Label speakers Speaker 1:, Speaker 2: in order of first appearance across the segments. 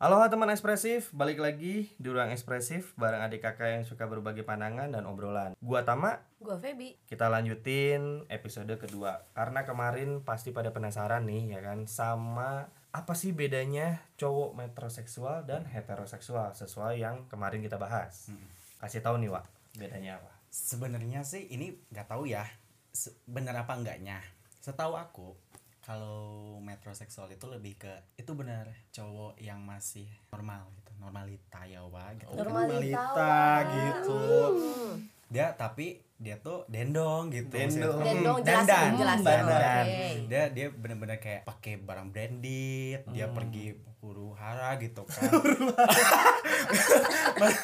Speaker 1: Aloha teman ekspresif, balik lagi di ruang ekspresif bareng adik kakak yang suka berbagi pandangan dan obrolan. Gua Tama,
Speaker 2: Gue Feby.
Speaker 1: kita lanjutin episode kedua. Karena kemarin pasti pada penasaran nih ya kan sama apa sih bedanya cowok metroseksual dan heteroseksual sesuai yang kemarin kita bahas.
Speaker 3: Hmm.
Speaker 1: Kasih tahu nih, Wak, bedanya apa?
Speaker 3: Sebenarnya sih ini nggak tahu ya se- bener apa enggaknya. Setahu aku kalau metroseksual itu lebih ke itu benar cowok yang masih normal gitu normalita ya wa gitu
Speaker 2: Normalita, Wa.
Speaker 3: gitu dia tapi dia tuh dendong gitu
Speaker 1: Dendong.
Speaker 3: Maksudnya,
Speaker 2: Dendong,
Speaker 3: hmm,
Speaker 2: jelasin,
Speaker 3: dandan
Speaker 2: jelasin.
Speaker 3: dandan.
Speaker 2: Oke.
Speaker 3: dia dia bener-bener kayak pakai barang branded dia
Speaker 1: Hmm.
Speaker 3: pergi huru hara gitu kan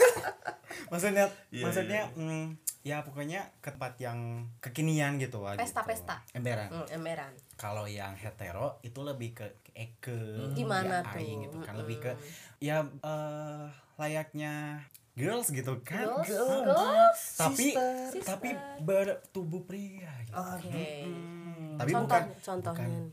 Speaker 3: maksudnya
Speaker 1: Iya,
Speaker 3: maksudnya mm, ya pokoknya ke tempat yang kekinian gitu lah gitu.
Speaker 2: Pesta-pesta.
Speaker 3: emberan
Speaker 2: Hmm, emberan.
Speaker 3: kalau yang hetero itu lebih ke eh, ke eke
Speaker 2: Gimana
Speaker 3: ya,
Speaker 2: tuh? Hmm.
Speaker 3: aing gitu kan lebih ke
Speaker 2: Mm-mm.
Speaker 3: ya eh, layaknya girls gitu kan
Speaker 2: Girls,
Speaker 3: Girl.
Speaker 2: girls.
Speaker 3: tapi
Speaker 1: Sister.
Speaker 3: tapi bertubuh pria gitu.
Speaker 2: Oke. hmm.
Speaker 1: Hmm,
Speaker 3: tapi
Speaker 2: Contoh-
Speaker 3: bukan
Speaker 2: contohnya Hmm.
Speaker 3: bukan
Speaker 2: nih.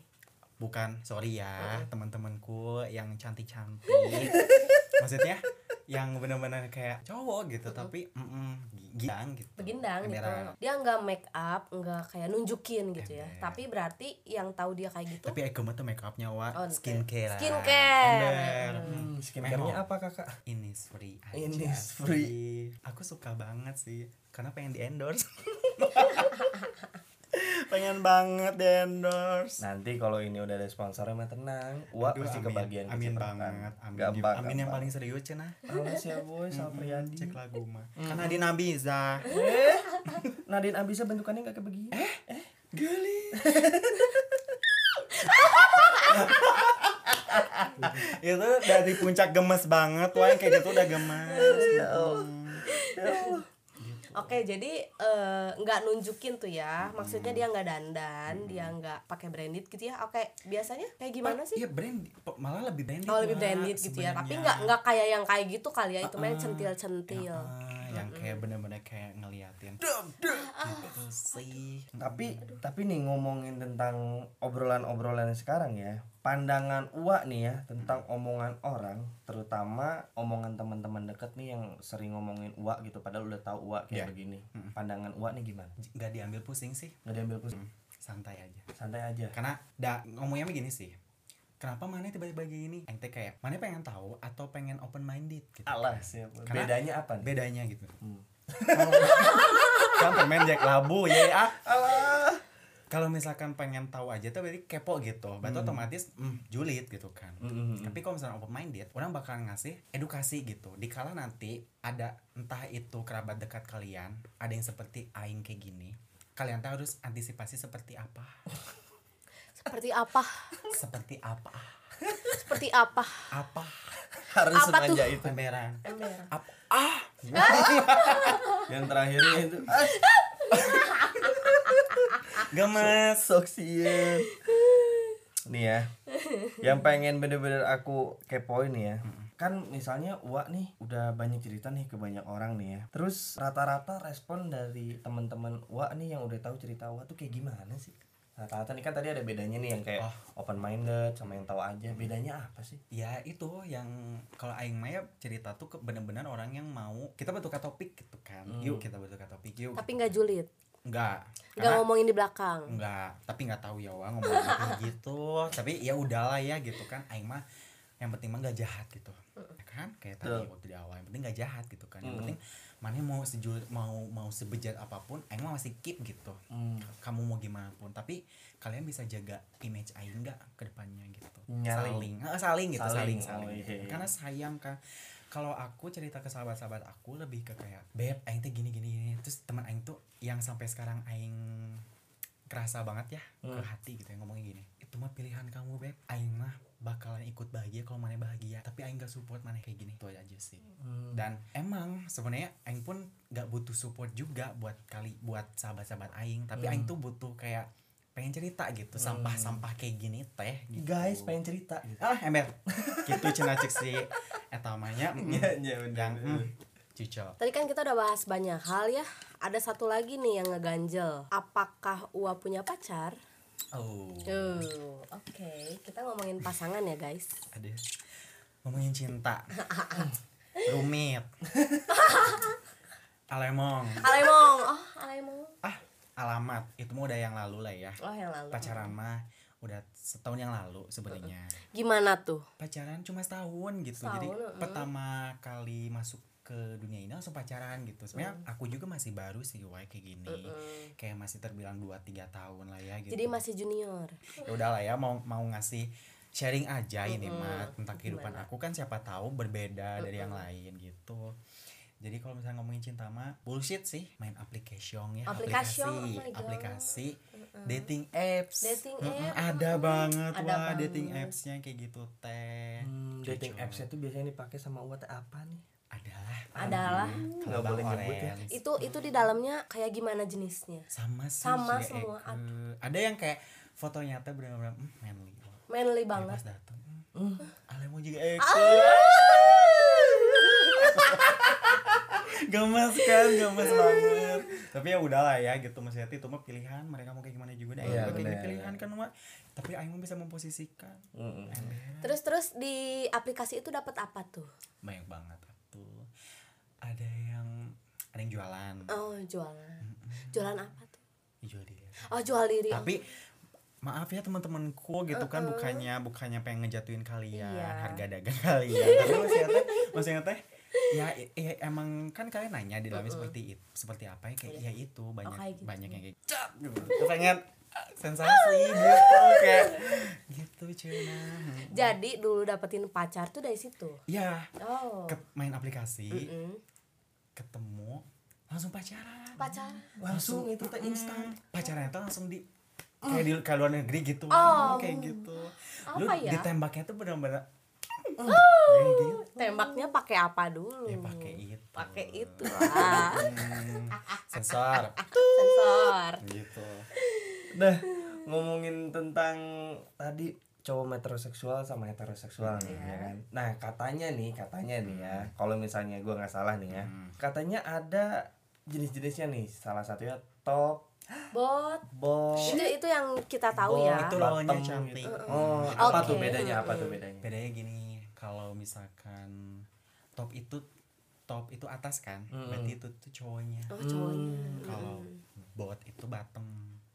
Speaker 3: bukan sorry ya teman-temanku yang cantik-cantik maksudnya yang benar-benar kayak cowok gitu tapi mm gidang gitu
Speaker 2: Begindang Hmm. gitu.
Speaker 3: Emberan.
Speaker 2: Dia nggak make up, nggak kayak nunjukin gitu ya. Tapi berarti yang tahu dia kayak gitu
Speaker 3: tapi agama tuh make upnya wa
Speaker 2: Oh, oke.
Speaker 3: skincare
Speaker 2: Skincare. Hmm.
Speaker 1: Skincare-nya apa, Kakak?
Speaker 3: ini free aja
Speaker 1: Ini is
Speaker 3: sih.
Speaker 1: free.
Speaker 3: aku suka banget sih karena pengen di endorse pengen banget di endorse
Speaker 1: Nanti kalau ini udah ada sponsornya mah tenang. Wah,
Speaker 3: Aduh,
Speaker 1: Nah, pasti
Speaker 3: amin.
Speaker 1: kebagian
Speaker 3: amin
Speaker 1: kecipratan.
Speaker 3: banget amin,
Speaker 1: gampang,
Speaker 3: amin yang
Speaker 1: gampang.
Speaker 3: paling serius cina
Speaker 1: Awas ya boy, Sapriyadi.
Speaker 3: cek lagu mah karena di nabi za
Speaker 1: Eh, Nadine Abisa bentukannya gak kayak begini.
Speaker 3: geli itu dari puncak gemes banget wah yang kayak gitu udah gemes
Speaker 1: Nah, oh.
Speaker 2: Oke, jadi eh, nggak nunjukin tuh ya. Maksudnya dia nggak dandan, dia nggak pakai branded gitu ya. Oke, biasanya kayak gimana sih?
Speaker 3: Iya brand malah lebih branded.
Speaker 2: Oh lebih
Speaker 3: Wak,
Speaker 2: branded gitu ya. Tapi
Speaker 3: sebenarnya.
Speaker 2: nggak nggak kayak yang kayak gitu kali ya. Itu main centil-centil.
Speaker 3: Ah, yang kayak bener-bener kayak ngeliatin. Dum dum gitu sih.
Speaker 1: Tapi tapi nih ngomongin tentang obrolan-obrolan sekarang ya. Pandangan Uwa nih ya tentang omongan orang, terutama omongan teman-teman deket nih yang sering ngomongin Uwa gitu padahal udah tahu Uwa kayak
Speaker 3: Iya.
Speaker 1: begini. Pandangan Uwa nih gimana?
Speaker 3: Nggak diambil pusing sih,
Speaker 1: Nggak diambil pusing.
Speaker 3: santai aja.
Speaker 1: Santai aja.
Speaker 3: Karena da, ngomongnya begini sih. Kenapa mana tiba-tiba kayak gini? Ente kayak mana pengen tahu atau pengen open minded gitu.
Speaker 1: Alas ya. Boy.
Speaker 3: Karena-
Speaker 1: Bedanya apa nih?
Speaker 3: Bedanya gitu.
Speaker 1: Hmm.
Speaker 3: kan permen Jack Labu ya ah.
Speaker 1: Alah.
Speaker 3: Kalau misalkan pengen tahu aja tuh berarti kepo gitu. Berarti
Speaker 1: Hmm.
Speaker 3: otomatis mm, julid gitu kan. Tapi kalau misalnya open minded, orang bakal ngasih edukasi gitu. Dikala nanti ada entah itu kerabat dekat kalian, ada yang seperti aing kayak gini. Kalian tahu harus antisipasi seperti apa?
Speaker 2: Seperti apa?
Speaker 3: Seperti apa?
Speaker 2: Seperti apa?
Speaker 3: Apa?
Speaker 1: Harus
Speaker 2: Apa tuh?
Speaker 1: sengaja Nah, itu.
Speaker 3: Emberan.
Speaker 2: Ember.
Speaker 3: Apa? Ah!
Speaker 1: Yang terakhirnya itu. Ah,
Speaker 3: Gemes.
Speaker 1: Soksien. iya. Nih ya. Yang pengen bener-bener aku kepoin nih ya. Kan misalnya Uwa nih udah banyak cerita nih ke banyak orang nih ya. Terus rata-rata respon dari teman-teman Uwa nih yang udah tahu cerita Uwa tuh kayak gimana sih? Rata-rata nih kan tadi ada bedanya nih yang kayak open minded sama yang tahu aja. Bedanya apa sih?
Speaker 3: Ya itu yang kalau Aing Maya cerita tuh ke- bener-bener orang yang mau kita bertukar topik gitu kan. Yuk kita bertukar topik yuk. gitu
Speaker 2: Tapi nggak julid.
Speaker 3: Enggak.
Speaker 2: Nggak ngomongin di belakang.
Speaker 3: Enggak, tapi nggak tahu ya Wak ngomong kayak gitu. Tapi ya udahlah ya gitu kan. Aing mah yang penting mah nggak jahat gitu. Ya kan kayak tadi waktu di awal yang penting nggak jahat gitu kan. Yang penting mana mau sejul mau mau sebejat apapun aing mah masih keep gitu.
Speaker 1: Mm.
Speaker 3: Kamu mau gimana pun, tapi kalian bisa jaga image aing nggak ke depannya gitu.
Speaker 1: Nyaling.
Speaker 3: Saling, Eh, saling gitu,
Speaker 1: Saling.
Speaker 3: saling, saling.
Speaker 1: Oh, iya, iya.
Speaker 3: Karena sayang kan kalau aku cerita ke sahabat-sahabat aku lebih ke kayak beb aing teh gini gini gini terus teman aing tuh yang sampai sekarang aing kerasa banget ya ke
Speaker 1: Hmm.
Speaker 3: hati gitu yang ngomongnya gini itu mah pilihan kamu beb aing mah bakalan ikut bahagia kalau mana bahagia tapi aing gak support mana kayak gini itu aja sih
Speaker 1: Hmm.
Speaker 3: dan emang sebenarnya aing pun gak butuh support juga buat kali buat sahabat-sahabat aing tapi
Speaker 1: Hmm.
Speaker 3: aing tuh butuh kayak pengen cerita gitu sampah-sampah kayak gini teh gitu.
Speaker 1: Guys, pengen cerita gitu.
Speaker 3: ah ember gitu cina cik si etamanya mm,
Speaker 1: Iya, iya, bener,
Speaker 3: yang
Speaker 1: bener.
Speaker 3: mm, cucok
Speaker 2: Tadi kan kita udah bahas banyak hal ya. Ada satu lagi nih yang ngeganjel. Apakah Ua punya pacar?
Speaker 3: oh
Speaker 2: Tuh, oke. Kita ngomongin pasangan ya guys.
Speaker 3: ada ngomongin cinta rumit alemong
Speaker 2: Alemong. Oh, Alemong.
Speaker 3: ah alamat itu mah udah yang lalu lah ya
Speaker 2: Oh, yang lalu.
Speaker 3: pacaran mah udah setahun yang lalu sebenarnya
Speaker 2: Gimana tuh?
Speaker 3: pacaran cuma setahun gitu jadi
Speaker 2: Setahun, heeh.
Speaker 3: pertama kali masuk ke dunia ini langsung pacaran gitu sebenarnya aku juga masih baru sih wae kayak gini
Speaker 2: Heeh.
Speaker 3: kayak masih terbilang 2-3 tahun lah ya gitu
Speaker 2: Jadi masih junior.
Speaker 3: ya udahlah ya mau mau ngasih sharing aja ini mah tentang kehidupan
Speaker 2: Gimana?
Speaker 3: aku kan siapa tahu berbeda dari yang lain gitu jadi kalau misalnya ngomongin cinta mah bullshit sih main application ya
Speaker 2: Aplikasi,
Speaker 3: aplikasi
Speaker 2: oh my God.
Speaker 3: aplikasi dating apps
Speaker 2: Dating
Speaker 3: Mm-mm,
Speaker 2: app,
Speaker 3: ada banget
Speaker 2: Ada
Speaker 3: wah
Speaker 2: banget.
Speaker 3: dating appsnya kayak gitu teh
Speaker 1: Hmm, dating
Speaker 3: Jujur.
Speaker 1: apps itu biasanya dipakai sama uat apa nih?
Speaker 3: adalah ya?
Speaker 2: Adalah.
Speaker 1: Hmm, Nggak
Speaker 3: Kelabang
Speaker 1: boleh nyebut ya.
Speaker 3: orange.
Speaker 2: Itu itu di dalamnya kayak gimana jenisnya?
Speaker 3: sama sih
Speaker 2: Sama
Speaker 3: kayak
Speaker 2: semua,
Speaker 3: Eke. ada yang kayak fotonya teh benar-benar mm, manly
Speaker 2: Manly
Speaker 3: Kayak
Speaker 2: banget.
Speaker 3: pas datang mm,
Speaker 1: Hmm.
Speaker 3: alemo juga Eko gemes kan gemes banget tapi ya udahlah ya gitu maksudnya itu mah pilihan mereka mau kayak gimana juga deh
Speaker 1: Iya,
Speaker 3: Aing juga kayak
Speaker 1: bener.
Speaker 3: pilihan kan Wak. tapi Aing mah bisa memposisikan
Speaker 2: Terus terus di aplikasi itu dapat apa tuh?
Speaker 3: banyak banget tuh ada yang ada yang jualan
Speaker 2: Oh, jualan. Jualan apa tuh?
Speaker 3: jual diri
Speaker 2: Oh, jual diri.
Speaker 3: tapi maaf ya teman-temanku gitu kan bukannya bukannya pengen ngejatuhin kalian
Speaker 2: Iya.
Speaker 3: harga dagang kalian tapi maksudnya teh maksudnya teh ya i- i- emang kan kalian nanya di dalamnya seperti itu seperti apa ya kayak ya itu
Speaker 2: Iya.
Speaker 3: banyak
Speaker 2: kayak gitu.
Speaker 3: banyak yang kayak cat gitu Terus pengen ah, sensasi gitu kayak gitu cina
Speaker 2: Jadi dulu dapetin pacar tuh dari situ.
Speaker 3: ya
Speaker 2: Oh.
Speaker 3: ke- main aplikasi
Speaker 2: Mm.
Speaker 3: ketemu langsung pacaran
Speaker 2: Pacar.
Speaker 1: Langsung itu teh instan.
Speaker 3: pacarannya tuh langsung di kayak di ke luar negeri gitu
Speaker 2: Mm. Oh.
Speaker 3: kayak gitu lu
Speaker 2: Apa ya? Oh.
Speaker 3: ditembaknya tuh benar-benar
Speaker 2: Tembaknya pakai apa dulu?
Speaker 3: ya pakai itu
Speaker 2: Pakai itu lah.
Speaker 3: Hmm, sensor
Speaker 2: Sensor.
Speaker 3: gitu
Speaker 1: Nah, ngomongin tentang tadi cowok metroseksual sama heteroseksual nih, ya kan. Nah, katanya nih, katanya nih ya, kalau misalnya gua nggak salah nih
Speaker 3: Hmm.
Speaker 1: ya, katanya ada jenis-jenisnya nih. Salah satunya top,
Speaker 2: Bot.
Speaker 1: bot,
Speaker 2: Oh. Itu itu yang kita tahu
Speaker 1: Bot
Speaker 2: ya.
Speaker 3: itu lawannya
Speaker 1: bottom
Speaker 3: cantik
Speaker 1: gitu. Oh, apa
Speaker 2: Oke.
Speaker 1: tuh bedanya? Apa tuh bedanya?
Speaker 3: bedanya gini kalau misalkan top itu top itu atas kan
Speaker 1: Mm-mm.
Speaker 3: berarti itu tuh cowoknya
Speaker 2: Oh, cowoknya.
Speaker 3: Hmm, kalau bot itu bottom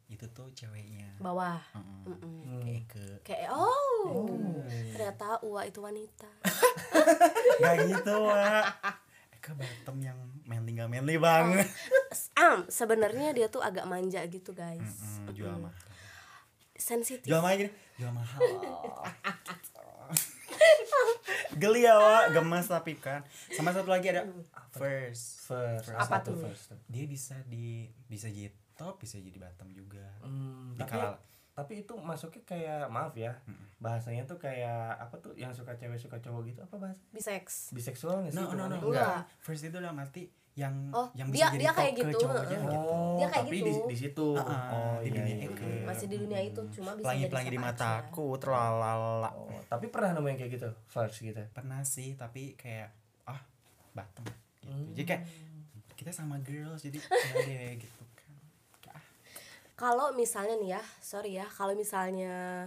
Speaker 3: itu tuh ceweknya
Speaker 2: Bawah.
Speaker 3: Mm-mm.
Speaker 2: Mm-mm.
Speaker 3: kayak ke
Speaker 2: Kayak oh.
Speaker 3: Hmm.
Speaker 2: Ternyata Ua itu wanita.
Speaker 3: Gak gitu Wak Ke bottom yang manly gak
Speaker 2: Oh.
Speaker 3: manly banget
Speaker 2: Am, sebenarnya dia tuh agak manja gitu, guys.
Speaker 3: Mm, Jual mahal
Speaker 2: Sensitif.
Speaker 3: Jual mahal gini Jual mahal Geli ya Wak Gemes tapi kan Sama satu lagi ada First
Speaker 1: First,
Speaker 3: Apa
Speaker 1: satu
Speaker 2: tuh?
Speaker 1: First.
Speaker 3: Dia bisa di Bisa jadi top Bisa jadi bottom juga
Speaker 1: Hmm,
Speaker 3: Di
Speaker 1: tapi,
Speaker 3: kalal-
Speaker 1: tapi itu masuknya kayak maaf ya, bahasanya tuh kayak apa tuh yang suka cewek suka cowok gitu apa bahasa?
Speaker 2: Biseks.
Speaker 1: Biseksual nggak sih?
Speaker 3: No no
Speaker 1: hitungannya?
Speaker 3: no
Speaker 2: Enggak.
Speaker 3: enggak. First itu dalam arti yang
Speaker 2: Oh,
Speaker 3: yang
Speaker 2: dia-
Speaker 3: bisa jadi
Speaker 2: dia
Speaker 3: top
Speaker 2: kayak
Speaker 3: ke
Speaker 2: gitu,
Speaker 3: cowoknya
Speaker 2: heeh.
Speaker 3: gitu.
Speaker 1: Oh,
Speaker 2: Dia kayak
Speaker 1: tapi
Speaker 2: gitu.
Speaker 1: di, di situ.
Speaker 3: Ah,
Speaker 1: oh,
Speaker 3: di
Speaker 1: iya, iya,
Speaker 3: dunia itu.
Speaker 1: iya.
Speaker 2: Hmm, Masih di dunia itu cuma bisa jadi
Speaker 3: Pelangi-pelangi di
Speaker 2: siapa aja.
Speaker 3: mataku Tralalala
Speaker 1: Oh, tapi pernah nemuin kayak gitu, first gitu.
Speaker 3: pernah sih tapi kayak ah bottom gitu
Speaker 2: Hmm.
Speaker 3: jadi kayak kita sama girls jadi ya deh gitu kan Kayak, ah,
Speaker 2: Kalau misalnya nih ya, sorry ya, kalau misalnya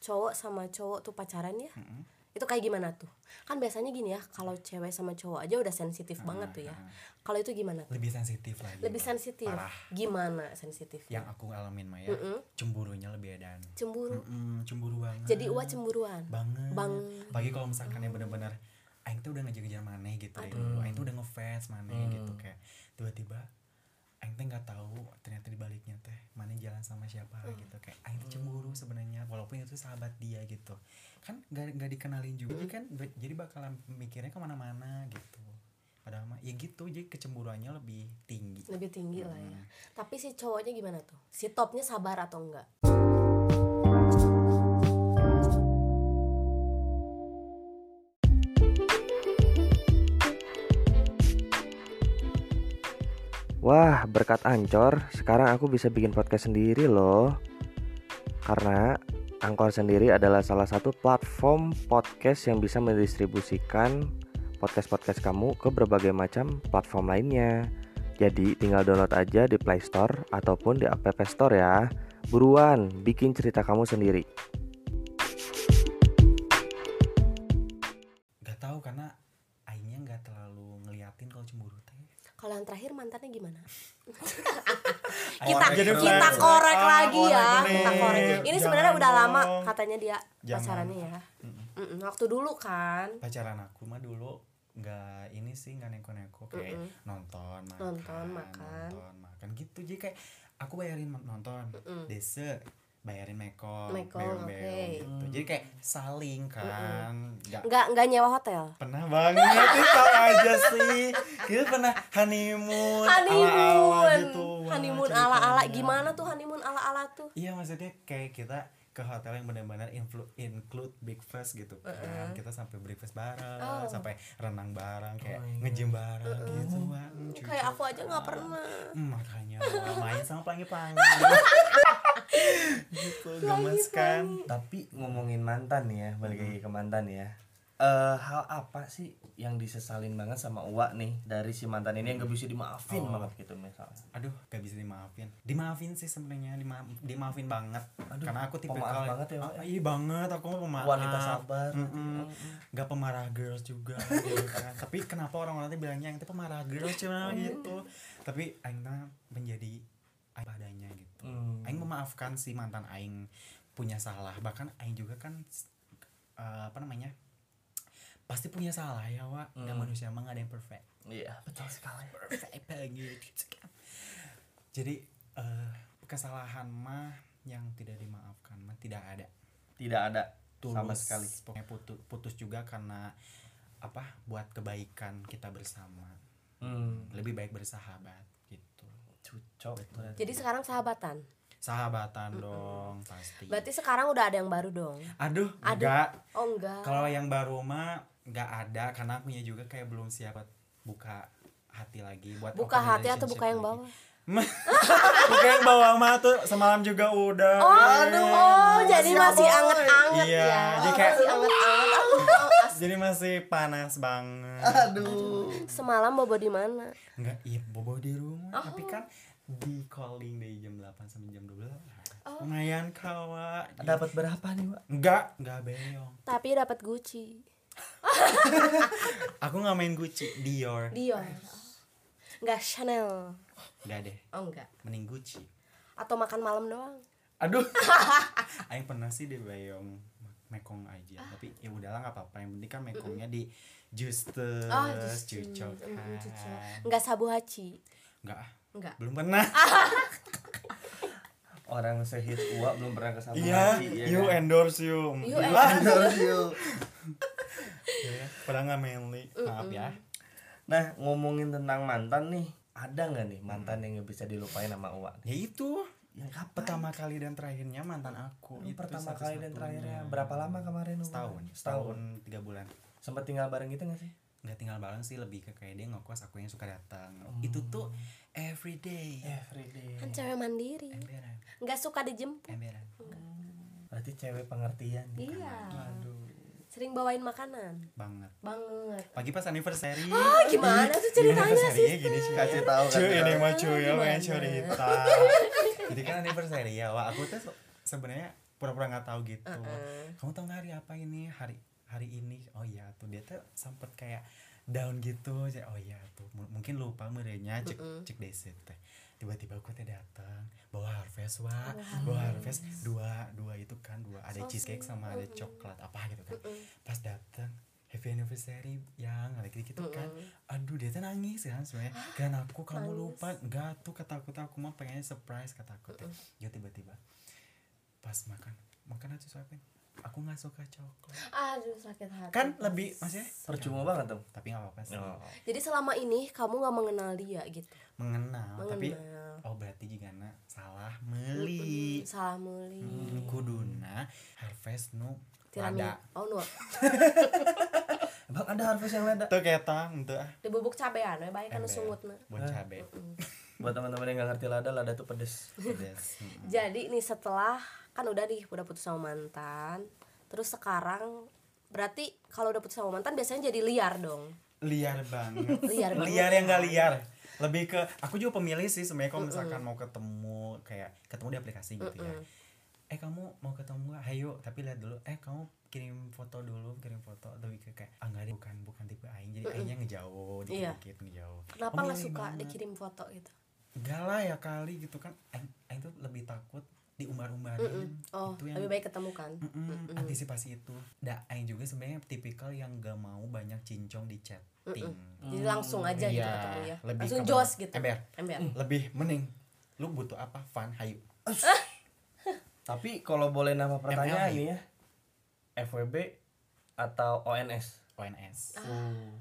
Speaker 2: cowok sama cowok tuh pacaran ya, itu kayak gimana tuh? Kan biasanya gini ya, kalau cewek sama cowok aja udah sensitif banget tuh ya. Kalau itu gimana tuh?
Speaker 3: Nah, lebih sensitif lagi
Speaker 2: Lebih
Speaker 3: Bang.
Speaker 2: sensitif.
Speaker 3: Hmm, parah Ya.
Speaker 2: Gimana sensitif?
Speaker 3: yang aku ngalamin Maya cemburunya lebih edan
Speaker 2: Cemburu.
Speaker 3: Mm-mm, cemburu banget
Speaker 2: Jadi Ua cemburuan.
Speaker 3: banget
Speaker 2: Banget.
Speaker 3: pagi kalau misalkan yang bener-bener Aing tuh udah ngejar-ngejar maneh gitu dari dulu Aing tuh udah ngefans maneh gitu kayak tiba-tiba Aing teh nggak tahu ternyata di baliknya teh maneh jalan sama siapa gitu kayak Aing tuh cemburu sebenarnya walaupun itu sahabat dia gitu kan gak, nggak dikenalin juga jadi kan be- jadi bakalan mikirnya kemana-mana gitu padahal mah ya gitu jadi kecemburuannya lebih tinggi
Speaker 2: Lebih tinggi lah ya.
Speaker 3: Hmm.
Speaker 2: Tapi si cowoknya gimana tuh? Si topnya sabar atau enggak?
Speaker 4: Wah, berkat Ancor, sekarang aku bisa bikin podcast sendiri loh. Karena Angkor sendiri adalah salah satu platform podcast yang bisa mendistribusikan podcast-podcast kamu ke berbagai macam platform lainnya. Jadi tinggal download aja di Play Store ataupun di App Store ya. Buruan bikin cerita kamu sendiri.
Speaker 2: mantannya gimana? kita
Speaker 1: Korek terus.
Speaker 2: kita korek
Speaker 3: Ah,
Speaker 2: lagi ya,
Speaker 3: korek
Speaker 2: kita
Speaker 3: terus.
Speaker 2: korek. Ini
Speaker 3: Jangan
Speaker 2: sebenarnya udah lama
Speaker 3: dong.
Speaker 2: katanya dia
Speaker 3: Jangan.
Speaker 2: pacarannya ya. Mm-mm, waktu dulu kan.
Speaker 3: pacaran aku mah dulu nggak ini sih nggak neko-neko kayak
Speaker 2: Mm-mm.
Speaker 3: nonton makan
Speaker 2: Nonton, makan.
Speaker 3: nonton makan gitu jadi kayak aku bayarin ma- nonton
Speaker 2: Mm-mm.
Speaker 3: dese bayarin mekom
Speaker 2: Mekom,
Speaker 3: beong-beong
Speaker 2: oke.
Speaker 3: gitu jadi kayak saling kan nggak
Speaker 2: Nggak nggak nyewa hotel.
Speaker 3: pernah banget itu aja sih kita pernah honeymoon ala-ala
Speaker 2: Honeymoon.
Speaker 3: gitu Wah,
Speaker 2: honeymoon
Speaker 3: ceritanya.
Speaker 2: ala-ala gimana tuh honeymoon ala-ala tuh?
Speaker 3: Iya maksudnya kayak kita ke hotel yang benar-benar influ- include breakfast gitu kan. Kita sampai breakfast
Speaker 2: Oh.
Speaker 3: bareng, sampai renang bareng, kayak nge-gym bareng gitu. Wah, hmm, cuy.
Speaker 2: Kayak aku aja nggak pernah.
Speaker 3: Hmm, makanya main sama pelangi-pelangi. gitu, gemes kan.
Speaker 1: Tapi ngomongin mantan nih ya, balik lagi ke mantan ya. Eh hal apa sih yang disesalin banget sama Uwa nih dari si mantan ini yang gak bisa dimaafin banget gitu misalnya.
Speaker 3: Aduh, gak bisa dimaafin. Dimaafin sih sebenarnya, dima- dimaafin banget. Karena aku tipe
Speaker 1: pemaaf banget ya,
Speaker 3: Ah,
Speaker 1: Wak.
Speaker 3: iya banget, aku mau pemaaf.
Speaker 1: Wanita sabar. ya.
Speaker 3: Mm-mm. Gak pemarah girls juga. gitu kan. Tapi kenapa orang-orang tuh bilangnya yang itu pemarah girls
Speaker 1: Oh,
Speaker 3: cuma
Speaker 1: iya.
Speaker 3: gitu. Tapi Aing tuh menjadi Aing padanya gitu.
Speaker 1: Hmm.
Speaker 3: Aing memaafkan si mantan Aing punya salah. Bahkan Aing juga kan eh, apa namanya? Pasti punya salah ya, Wak. Dan
Speaker 1: Hmm.
Speaker 3: manusia emang gak ada yang perfect
Speaker 1: Iya, betul sekali.
Speaker 3: perfect banget gitu kan. jadi eh, kesalahan mah yang tidak dimaafkan mah tidak ada
Speaker 1: Tidak ada
Speaker 3: tulus
Speaker 1: sama sekali.
Speaker 3: pokoknya putus, putus juga karena apa buat kebaikan kita bersama
Speaker 1: Hmm,
Speaker 3: lebih baik bersahabat gitu
Speaker 1: cucok berarti.
Speaker 2: Jadi sekarang sahabatan.
Speaker 3: sahabatan dong pasti
Speaker 2: Berarti sekarang udah ada yang baru dong.
Speaker 3: aduh
Speaker 2: Aduh.
Speaker 3: enggak
Speaker 2: Oh enggak.
Speaker 3: kalau yang baru mah enggak ada karena akunya juga kayak belum siap buka hati lagi buat
Speaker 2: Buka
Speaker 3: open
Speaker 2: hati atau
Speaker 3: relationship
Speaker 2: buka yang
Speaker 3: lagi.
Speaker 2: bawah?
Speaker 3: Bukan yang bawah mah tuh semalam juga udah.
Speaker 2: Oh, aduh, oh, jadi masih
Speaker 3: boy.
Speaker 2: anget-anget
Speaker 3: Iya,
Speaker 2: ya.
Speaker 3: jadi
Speaker 2: Oh,
Speaker 3: kayak-
Speaker 2: masih anget-anget. Aduh, oh, as-
Speaker 3: Jadi masih panas banget.
Speaker 1: Aduh.
Speaker 2: Semalam bobo di mana?
Speaker 3: Enggak, iya bobo di rumah,
Speaker 2: Oh.
Speaker 3: tapi kan di calling dari jam 8 sampai jam 12.
Speaker 2: Oh.
Speaker 3: Lumayan kawa.
Speaker 1: Dapat berapa nih, Wak?
Speaker 3: Enggak, enggak beyong.
Speaker 2: Tapi dapat Gucci.
Speaker 3: Aku enggak main Gucci, Dior.
Speaker 2: Dior. Enggak Chanel.
Speaker 3: Enggak deh,
Speaker 2: Oh enggak.
Speaker 3: mending Gucci.
Speaker 2: Atau makan malam doang.
Speaker 3: Aduh. Aing pernah sih di Bayong mekong aja, tapi ya udahlah nggak apa-apa. Yang penting kan mekongnya di justus,
Speaker 2: Oh, Gucci.
Speaker 3: cucok
Speaker 2: Mm, Gucci.
Speaker 3: kan.
Speaker 2: Enggak sabu haci.
Speaker 3: Enggak ah,
Speaker 2: Enggak.
Speaker 3: belum pernah.
Speaker 1: Orang sehit Uwa belum pernah ke sama
Speaker 3: Iya,
Speaker 1: Haji,
Speaker 3: you
Speaker 1: kan?
Speaker 3: endorse you.
Speaker 2: You
Speaker 3: Iya,
Speaker 2: endorse.
Speaker 1: Endorse you.
Speaker 3: ya. Padahal nggak manly. Maaf ya.
Speaker 1: Nah, ngomongin tentang mantan nih, ada nggak nih mantan yang nggak bisa dilupain sama Uwa?
Speaker 3: Ya itu
Speaker 1: Hmm. Yang kapan?
Speaker 3: pertama kali dan terakhirnya mantan aku.
Speaker 1: Yang
Speaker 3: Itu
Speaker 1: pertama kali dan
Speaker 3: satu-satunya.
Speaker 1: terakhirnya berapa lama kemarin? Uwa?
Speaker 3: Setahun,
Speaker 1: Setahun.
Speaker 3: setahun tiga bulan.
Speaker 1: Sempat tinggal bareng gitu nggak sih?
Speaker 3: Nggak tinggal bareng sih lebih ke kayak dia ngekos aku yang suka datang.
Speaker 2: Hmm.
Speaker 3: Itu tuh everyday.
Speaker 1: Everyday.
Speaker 2: Kan cewek mandiri.
Speaker 3: Emberan,
Speaker 2: Enggak suka dijemput.
Speaker 3: emberan.
Speaker 1: Berarti cewek pengertian. gitu.
Speaker 2: Iya.
Speaker 1: Aduh.
Speaker 2: Sering bawain makanan.
Speaker 3: Banget.
Speaker 2: Banget.
Speaker 3: Pagi pas anniversary.
Speaker 2: Oh, gimana tuh ceritanya sih?
Speaker 3: Anniversary-nya gini sih.
Speaker 1: Kasih tahu kan.
Speaker 3: Cuy ini mah cuy ya
Speaker 2: Gimana?
Speaker 3: pengen cerita. Jadi kan anniversary ya, wah aku tuh se- sebenarnya pura-pura nggak tahu gitu. Kamu tahu nggak hari apa ini? Hari hari ini. Oh iya tuh dia tuh sempet kayak down gitu. Jadi, oh iya tuh M- mungkin lupa merenya cek cek desi teh. Tiba-tiba aku teh datang bawa harvest wa, bawa harvest dua dua itu kan dua ada cheesecake sama ada coklat apa gitu kan. Pas datang happy anniversary yang lagi gitu kan aduh dia tuh nangis kan sebenarnya kan aku kamu lupa enggak tuh kata aku tuh aku mah pengen surprise kata aku tuh ya tiba-tiba pas makan makan aja suapin aku nggak suka coklat
Speaker 2: Aduh, sakit hati.
Speaker 3: kan lebih maksudnya
Speaker 1: Percuma banget dong.
Speaker 3: tapi nggak apa-apa sih
Speaker 1: Oh.
Speaker 2: Jadi selama ini kamu nggak mengenal dia gitu.
Speaker 3: mengenal, tapi
Speaker 2: Mengenal.
Speaker 3: oh berarti juga na salah meli
Speaker 2: Salah muli.
Speaker 3: Hmm, kuduna harvest nu
Speaker 2: Tirani.
Speaker 3: ada
Speaker 2: Oh, nu.
Speaker 1: Bang ada harvest yang lada.
Speaker 3: tuh ketang tuh ah
Speaker 2: Dibubuk cabean we bae kana sungutna.
Speaker 3: buat cabe
Speaker 1: Buat teman-teman yang nggak ngerti lada, lada tuh pedes.
Speaker 3: pedes Mm.
Speaker 2: Jadi nih setelah kan udah nih udah putus sama mantan, terus sekarang berarti kalau udah putus sama mantan biasanya jadi liar dong.
Speaker 3: liar banget
Speaker 2: Liar banget.
Speaker 3: liar yang gak liar lebih ke aku juga pemilih sih sebenarnya kalau misalkan mau ketemu kayak ketemu di aplikasi gitu ya eh kamu mau ketemu gak? Hayo yuk tapi lihat dulu eh kamu kirim foto dulu kirim foto tapi kayak kayak, ah nggak deh, bukan bukan tipe aing jadi aingnya ngejauh dikit
Speaker 2: Iya.
Speaker 3: dikit ngejauh
Speaker 2: Kenapa
Speaker 3: Pemilih
Speaker 2: nggak suka
Speaker 3: banget.
Speaker 2: dikirim foto gitu?
Speaker 3: enggak lah ya kali gitu kan aing aing tuh lebih takut diumbar-umbarin
Speaker 2: Oh,
Speaker 3: itu yang
Speaker 2: lebih baik ketemu kan?
Speaker 3: Mm-mm, antisipasi itu da aing juga sebenarnya tipikal yang gak mau banyak cincong di chatting
Speaker 2: Jadi langsung aja gitu ketemu ya.
Speaker 3: Hmm, Iya, lebih
Speaker 2: Langsung
Speaker 3: ke-
Speaker 2: jos gitu.
Speaker 3: ember Hmm.
Speaker 2: Ember.
Speaker 3: lebih mending lu butuh apa fun hayu
Speaker 1: Tapi kalau boleh nama pertanyaan
Speaker 3: ML.
Speaker 1: nih ya. FWB atau ONS?
Speaker 3: ONS
Speaker 2: Ah.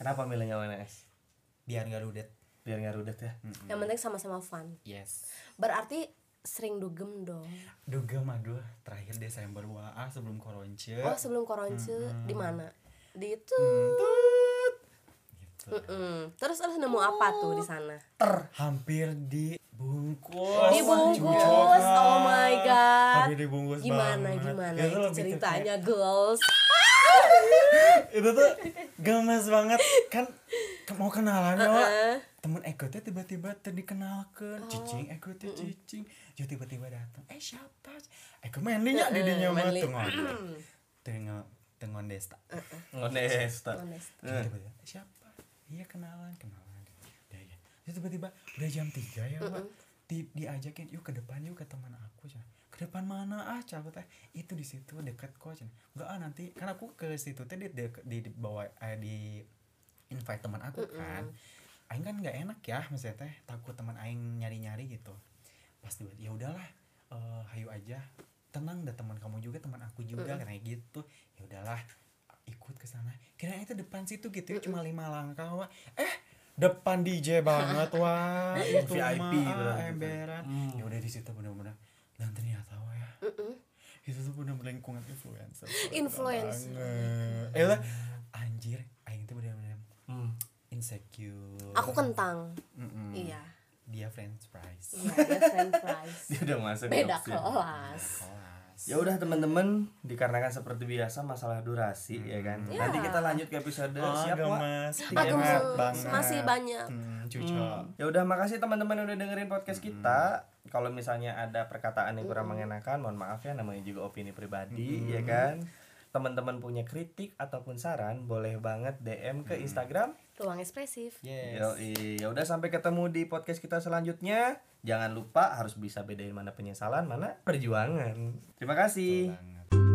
Speaker 1: Kenapa milihnya ONS?
Speaker 3: biar gak rudet
Speaker 1: Biar nggak rudet ya.
Speaker 2: Yang penting sama-sama fun.
Speaker 3: yes
Speaker 2: Berarti sering dugem dong.
Speaker 3: duga madu terakhir Desember waah sebelum koronce
Speaker 2: Oh, sebelum koronce di mana? Di itu.
Speaker 3: gitu.
Speaker 2: Mm-mm. Terus terus nemu apa tuh di sana?
Speaker 3: hampir dibungkus
Speaker 2: Dibungkus. Oh my god.
Speaker 3: hampir dibungkus
Speaker 2: Gimana
Speaker 3: banget. Ya,
Speaker 2: gimana itu
Speaker 3: Itu lebih ke kayak-
Speaker 2: ceritanya, girls?
Speaker 3: itu tuh gemes banget kan ke- mau kenalan ya Wak. temen Eko teh tiba-tiba teh dikenalkan cicing Eko teh cicing Jo tiba-tiba datang eh siapa Eko manly ya didinya mah
Speaker 2: manly.
Speaker 3: tengok tengok tengok desta
Speaker 1: Onesta.
Speaker 2: Honest.
Speaker 3: Jo tiba-tiba "Eh, siapa iya kenalan kenalan ya ya Jo tiba-tiba udah jam 3 ya Wak di, diajakin yuk ke depan yuk ke teman aku cina ke depan mana ah cabut teh itu di situ dekat kok cina enggak ah nanti kan aku ke situ teh di di, di, di bawah eh, di invite teman aku kan aing kan nggak enak ya maksudnya teh takut teman aing nyari nyari gitu pas tiba ya udahlah eh hayu aja tenang dah teman kamu juga teman aku juga kayak gitu ya udahlah ikut ke sana kirain itu depan situ gitu ya, cuma lima langkah wah eh depan DJ banget wah
Speaker 2: Iya,
Speaker 3: itu
Speaker 1: VIP
Speaker 3: mah
Speaker 2: gitu
Speaker 1: berarti
Speaker 3: ah,
Speaker 1: kan.
Speaker 3: emberan
Speaker 2: Mm.
Speaker 3: ya udah di situ benar-benar dan ternyata wah ya itu tuh benar-benar lingkungan influencer
Speaker 2: Influencer.
Speaker 3: Banget. eh lah anjir aing tuh benar-benar
Speaker 1: Hmm.
Speaker 3: insecure
Speaker 2: Aku kentang.
Speaker 3: Mm-mm.
Speaker 2: Iya.
Speaker 3: dia friends price
Speaker 2: Iya, dia friend price.
Speaker 1: Dia udah masuk ke
Speaker 3: Iya,
Speaker 2: Beda
Speaker 1: opsi.
Speaker 2: kelas.
Speaker 3: kelas
Speaker 1: Ya udah teman-teman, dikarenakan seperti biasa masalah durasi ya kan.
Speaker 2: Iya.
Speaker 1: Nanti kita lanjut ke episode
Speaker 3: Oh,
Speaker 1: siapa?
Speaker 3: mas
Speaker 2: Aku
Speaker 3: Hebat
Speaker 2: mas- masih banyak.
Speaker 3: Hmm, cocok.
Speaker 1: Ya udah makasih teman-teman yang udah dengerin podcast kita. Kalau misalnya ada perkataan yang kurang mengenakan, mohon maaf ya namanya juga opini pribadi ya kan. Teman-teman punya kritik ataupun saran boleh banget DM ke Instagram.
Speaker 2: Ruang ekspresif.
Speaker 3: Yes.
Speaker 1: Yoi. Ya udah sampai ketemu di podcast kita selanjutnya. Jangan lupa harus bisa bedain mana penyesalan, mana perjuangan. Terima kasih.
Speaker 3: Banget.